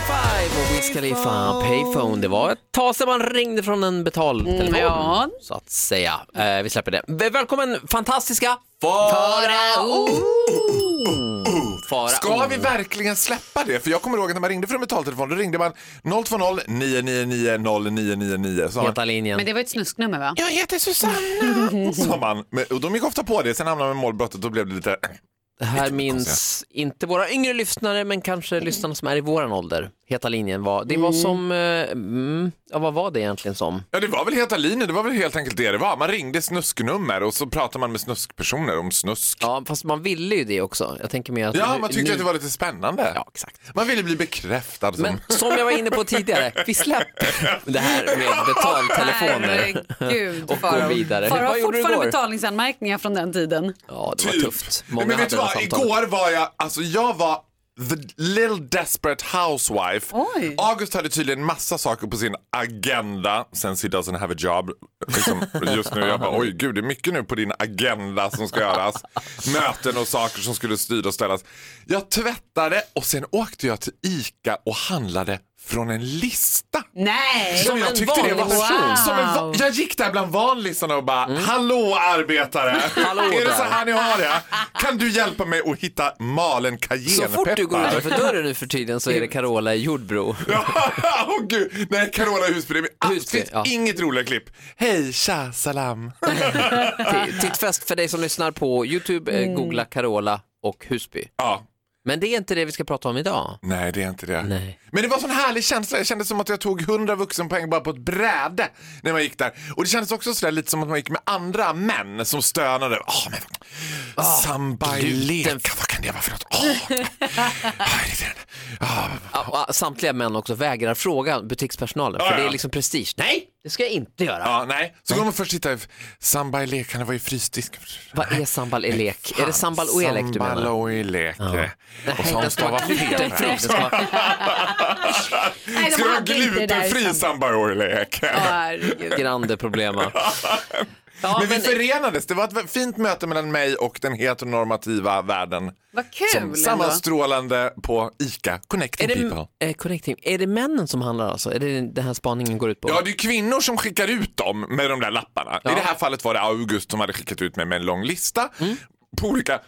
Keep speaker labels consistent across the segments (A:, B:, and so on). A: Five och Wiz Khalifa, Payphone. Det var ett tag sedan man ringde från en betaltelefon.
B: ja.
A: Så att säga. Eh, vi släpper det. V- Välkommen fantastiska Farao! Farao.
C: Ska vi verkligen släppa det? För jag kommer ihåg att när man ringde från betaltelefon då ringde man 020 999 0999. Så sa man,
A: Heta linjen.
B: Men det var ett snusknummer va?
C: jag heter Susanna. sa man. Men, och de gick ofta på det. Sen hamnade man i målbrottet och då blev det lite...
A: Det här minns inte våra yngre lyssnare, men kanske
B: Mm.
A: lyssnarna som är i våran ålder. Heta linjen var, det var som, eh, mm, ja, vad var det egentligen som?
C: Ja, det var väl heta linjen. Det var väl helt enkelt det det var. Man ringde snusknummer och så pratade man med snuskpersoner om snusk. Ja,
A: Ja, fast man ville ju det också. Jag tänker mer att nu-
C: man tyckte
A: nu-
C: att det var lite spännande.
A: Ja, exakt.
C: Man ville bli bekräftad som...
A: Men som jag var inne på tidigare, vi släpper det här med betaltelefoner.
B: Herregud,
A: Och gå vidare.
B: Farao
A: Vad
B: har
A: gjorde du
B: fortfarande
A: igår?
B: betalningsanmärkningar från den tiden.
A: Ja, det var tufft. Många
C: Typ. men
A: hade
C: vet du
A: det
C: vad,
A: samtalet.
C: igår var jag, alltså jag var the little desperate housewife.
B: Oj.
C: August hade tydligen massa saker på sin agenda sen she doesn't have a job. Liksom, just nu jag bara oj gud det är mycket nu på din agenda som ska göras. Möten och saker som skulle styra och ställas. Jag tvättade och sen åkte jag till ICA och handlade från en lista.
B: Nej!
C: Som jag
A: en
C: tyckte det var
A: vanlig person.
C: som en va- Jag gick där bland vanlisarna och bara, hallå arbetare,
A: Hallå
C: är det
A: där."
C: så här ni har det? Kan du hjälpa mig att hitta malen
A: Så
C: cayennepeppar?
A: fort du går utanför dörren nu för tiden så är det Carola i Jordbro.
C: Åh gud, nej Carola Husby, det är
A: Husby,
C: absolut
A: ja.
C: inget roligare klipp. Hej, tja, salam.
A: T- Tittfest för dig som lyssnar på YouTube, eh, googla Carola och Husby.
C: ja.
A: Men det är inte det vi ska prata om idag.
C: Nej, det är inte det.
A: Nej.
C: Men det var sån härlig känsla. Jag kände som att jag tog 100 vuxenpoäng bara på ett bräde när man gick där. Och det kändes också sådär lite som att man gick med andra män som stönade. Oh, men, Sambaileka,
A: Ah, gluten-
C: vad kan det vara för något? Åh, ah, är det den? Ah,
A: Ja, och Samtliga män också vägrar fråga butikspersonalen, för
C: Ja,
A: det är
C: ja.
A: liksom prestige. Nej, det ska jag inte göra.
C: ja, nej. Så går man först titta, sambaileka, han var i frysdisken.
A: Vad är sambal elek? Är det sambal och elek du
C: Sambal
A: menar?
C: och eleke. Och
A: Nej,
C: så har
A: den
C: hon
A: ska vara
C: stavat fel.
A: glutenfri. Den ska vara-
B: Nej,
C: Ska du ha
B: hade inte det där i
C: glutenfri
B: samband.
C: sambal och eleke?
B: Herregud.
A: Grande problema. Ja,
C: men vi
A: men-
C: förenades. Det var ett fint möte mellan mig och den heteronormativa världen.
B: Vad kul
C: Som
B: ändå.
C: sammanstrålande på ICA, Connecting
A: Är det,
C: People.
A: eh, connecting. är det männen som handlar alltså? Är det den här spaningen går ut på?
C: Ja, det är kvinnor som skickar ut dem med de där lapparna. I det här fallet var det August som hade skickat ut mig med en lång lista
A: Mm.
C: på olika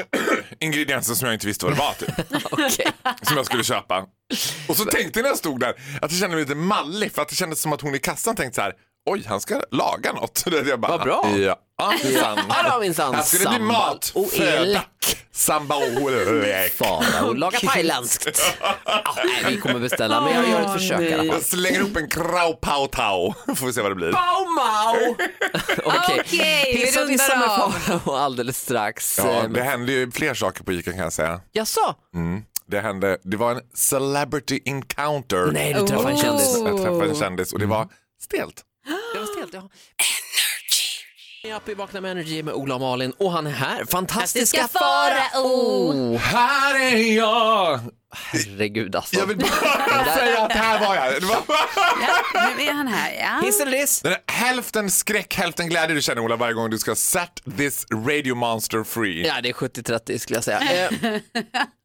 C: ingredienser som jag inte visste vad det var typ.
A: Okej.
C: som jag skulle köpa. Och så tänkte jag när jag stod där att jag kände mig lite mallig för att det kändes som att hon i kassan tänkte så här Oj, han ska laga något. Jag bara,
A: Vad bra.
C: Ja, minsann.
A: Ja, då minsann.
C: Här ska det bli
A: Sambal
C: mat,
A: och
C: föda,
A: elek.
C: samba och elek.
A: Bara och laga thailändskt. Ah, nej, vi kommer beställa, men jag gör ett försök i alla fall.
C: Jag slänger upp en krau pau tau. Får vi se vad det blir.
A: Bao Mao! Okej,
B: Okej, vi
A: hissa och dissa med
B: rundar av.
A: Farao alldeles strax.
C: Ja,
A: Eh,
C: det hände ju fler saker på Ica kan jag säga.
A: Jaså?
C: Det hände, det var en celebrity encounter. Oh.
A: Nej, du träffade en kändis. Mm.
C: Jag träffade en kändis och det var stelt.
A: Det var stelt, ja. Energy! Upp i Vakna med Energy med Ola och Malin och han är här. Fantastiska Oh,
B: Fantastiska Farao.
C: Här är jag!
A: Herregud alltså.
C: Jag vill bara säga att här var jag. Det var
B: Ja, nu är han här. Ja.
A: Hiss eller diss?
C: Den här hälften skräck, hälften glädje du känner Ola varje gång du ska set this radio monster free.
A: Ja, det är 70-30 skulle jag säga. Eh,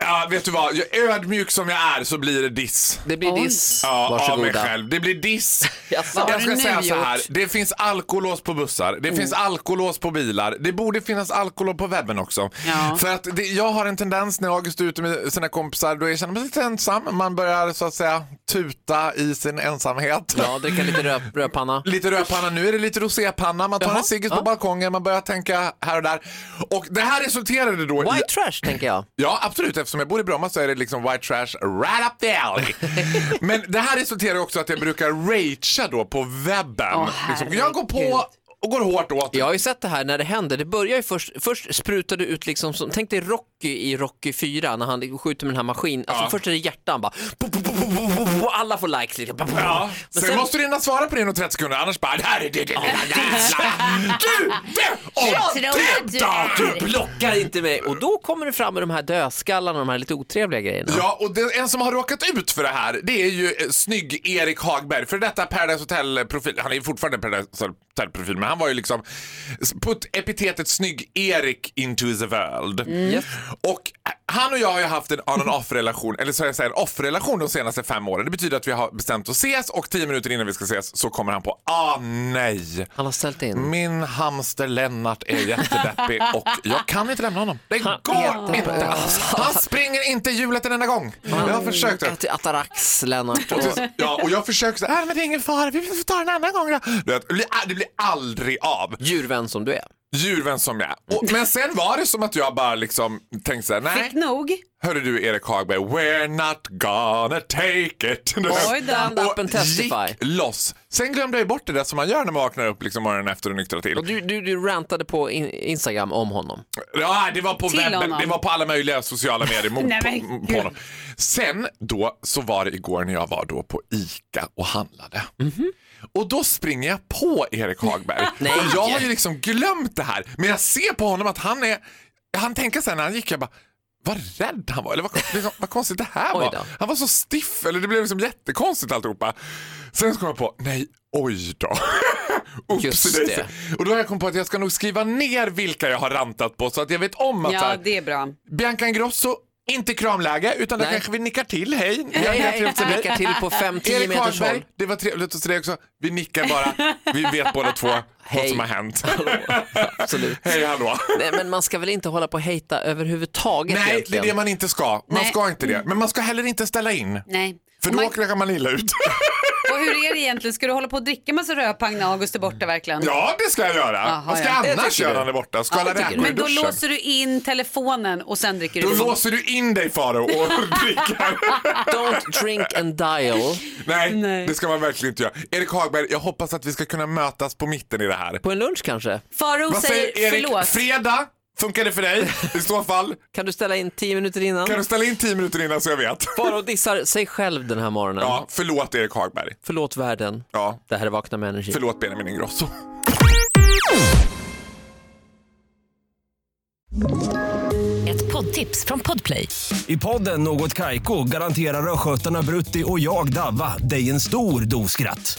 C: Ja, vet du vad? Jag, ödmjuk som jag är så blir det diss.
A: Det blir
B: Oj.
A: diss.
C: Ja, av mig
A: Varsågoda.
C: själv. Det blir diss.
A: Jaså.
B: Vad har
C: Jag
B: du
C: ska
B: nu
C: säga så här.
B: gjort?
C: Det finns alkolås på bussar. Det finns alkolås på bilar. Det borde finnas alkolås på webben också.
B: Ja.
C: För att det, jag har en tendens när August är ute med sina kompisar då jag känner mig lite ensam. Man börjar så att säga tuta i sin ensamhet.
A: Ja, dricka lite rö- rödpanna.
C: Lite rödpanna, nu är det lite rosépanna. Man tar
A: Jaha,
C: en ciggis på balkongen, man börjar tänka här och där. Och det här resulterade då i
A: White trash tänker jag.
C: Ja, absolut. Eftersom jag bor i Bromma så är det liksom white trash right up the alley. Men det här resulterar också att jag brukar ragea då på webben.
B: Åh,
C: liksom, jag går på och går hårt åt det.
A: Jag har ju sett det här när det händer. Det börjar ju först, först sprutar det ut liksom, som, tänk dig Rocky i Rocky 4 när han skjuter med den här maskinen. Alltså
C: Ja.
A: först är det hjärtan bara, bo, bo, bo, bo, bo, bo, bo, alla får likes. Liksom. Bo, bo, bo.
C: Ja,
A: Men
C: sen, måste du hinna svara på det inom 30 sekunder, annars bara det här är det, det, det, det, det, Du, det,
B: Jag
C: och
B: tror att du
C: det, då,
B: är-
C: du, bla-
A: blockar inte mig. Och då kommer det fram med de här dödskallarna och de här lite otrevliga grejerna.
C: Ja, och det, en som har råkat ut för det här, det är ju eh, snygg Erik Hagberg, för detta Paradise Hotel-profil. Han är ju fortfarande Paradise Hotel-profil, men han var ju liksom, put epitetet snygg Erik into the world.
A: Yes.
C: Och eh, han och jag har ju haft en on and off relation, eller så jag säger off relation de senaste fem åren. Det betyder att vi har bestämt att ses och tio minuter innan vi ska ses så kommer han på, ah nej.
A: Han har ställt in.
C: Min hamster Lennart är jättedeppig och jag kan inte lämna honom. Det
A: Han
C: går
A: äter Mm.
C: inte.
A: alltså.
C: Han springer inte i hjulet en enda gång. Jag har försökt det.
A: Äter Atarax, Lennart.
C: Och
A: Och...
C: till- Ja, och jag försöker så här, "Äh, men det är ingen fara, vi får ta den en annan gång då. Du vet, Det blir- äh, det blir aldrig av.
A: Djurvän som du är.
C: Djurvän som jag är. och, Men sen var det som att jag bara liksom tänkte så här, nej.
B: Fick nog.
C: Hörde du Erik Hagberg, we're not gonna take it.
B: Oj då.
A: Stand up and testify.
C: gick loss. Sen glömde jag ju bort det där som man gör när man vaknar upp liksom morgonen efter och nyktrar till.
A: Och du, du, du rantade på in, Instagram om honom.
C: Ja, det var på
B: Till
C: webben,
B: honom.
C: det var på alla möjliga sociala medier mot
B: Nej, men
C: på, på
B: gud.
C: honom. Sen då så var det igår när jag var då på ICA och handlade.
B: Mhm.
C: Och då springer jag på Erik Hagberg. och jag har ju liksom glömt det här. Men jag ser på honom att han är, han tänker sen när han gick, jag bara vad rädd han var, eller vad, liksom, vad konstigt det här
A: Oj
C: var.
A: då.
C: Han var så stiff, eller det blev liksom jättekonstigt alltihopa. Sen så kom jag på, nej, oj då. Oops,
A: Just
C: det.
A: det.
C: Och då har jag kommit på att jag ska nog skriva ner vilka jag har rantat på så att jag vet om att så
B: Ja,
C: här,
B: det är bra.
C: Bianca Ingrosso, inte kramläge utan då
A: Nej.
C: kanske vi nickar till, hej. Ja,
A: Hej,
C: det är
A: hej,
C: trevligt att se dig.
A: blickar till på 5-10
C: Erik
A: meters håll.
C: Hagberg, det var trevligt att se dig också. Vi nickar bara, vi vet båda två vad
A: Hej.
C: som har hänt.
A: Absolut.
C: Hej, hallå.
A: Nej, men man ska väl inte hålla på och hejta överhuvudtaget
C: Nej, det är
A: egentligen?
C: det man inte ska. Man
B: Nej.
C: ska inte det. Men man ska heller inte ställa in.
B: Nej.
C: För
B: Och
C: då
B: man-
C: åker man illa ut.
B: Och hur är det egentligen? Ska du hålla på och dricka massa rödpang när August är borta verkligen?
C: Ja, det ska jag göra.
B: Jaha,
C: Vad ska
B: ja.
C: jag
A: Det
C: annars
A: tycker
C: göra
A: du.
C: när jag är borta? Skala
A: det tycker
C: räkor
A: du.
C: i
B: Men då
C: duschen.
B: låser du in telefonen och sen dricker
C: Då
B: du.
C: låser du in dig Faro och dricker.
A: Don't drink and dial.
C: Nej, det ska man verkligen inte göra. Erik Hagberg, jag hoppas att vi ska kunna mötas på mitten i det här.
A: På en lunch kanske?
B: Faro
C: Vad
B: säger
C: säger Erik?
B: förlåt.
C: Fredag? Funkar det för dig? I så fall,
A: Kan du ställa in 10 minuter innan?
C: kan du ställa in 10 minuter innan så jag vet?
A: Bara och dissar sig själv den här morgonen.
C: Ja, förlåt Erik Hagberg.
A: Förlåt världen.
C: Ja,
A: Det här är Vakna med Energy.
C: förlåt Benjamin Ingrosso.
D: Ett poddtips från Podplay.
E: I podden Något Kaiko garanterar östgötarna Brutti och jag, Davva, dig en stor dos skratt.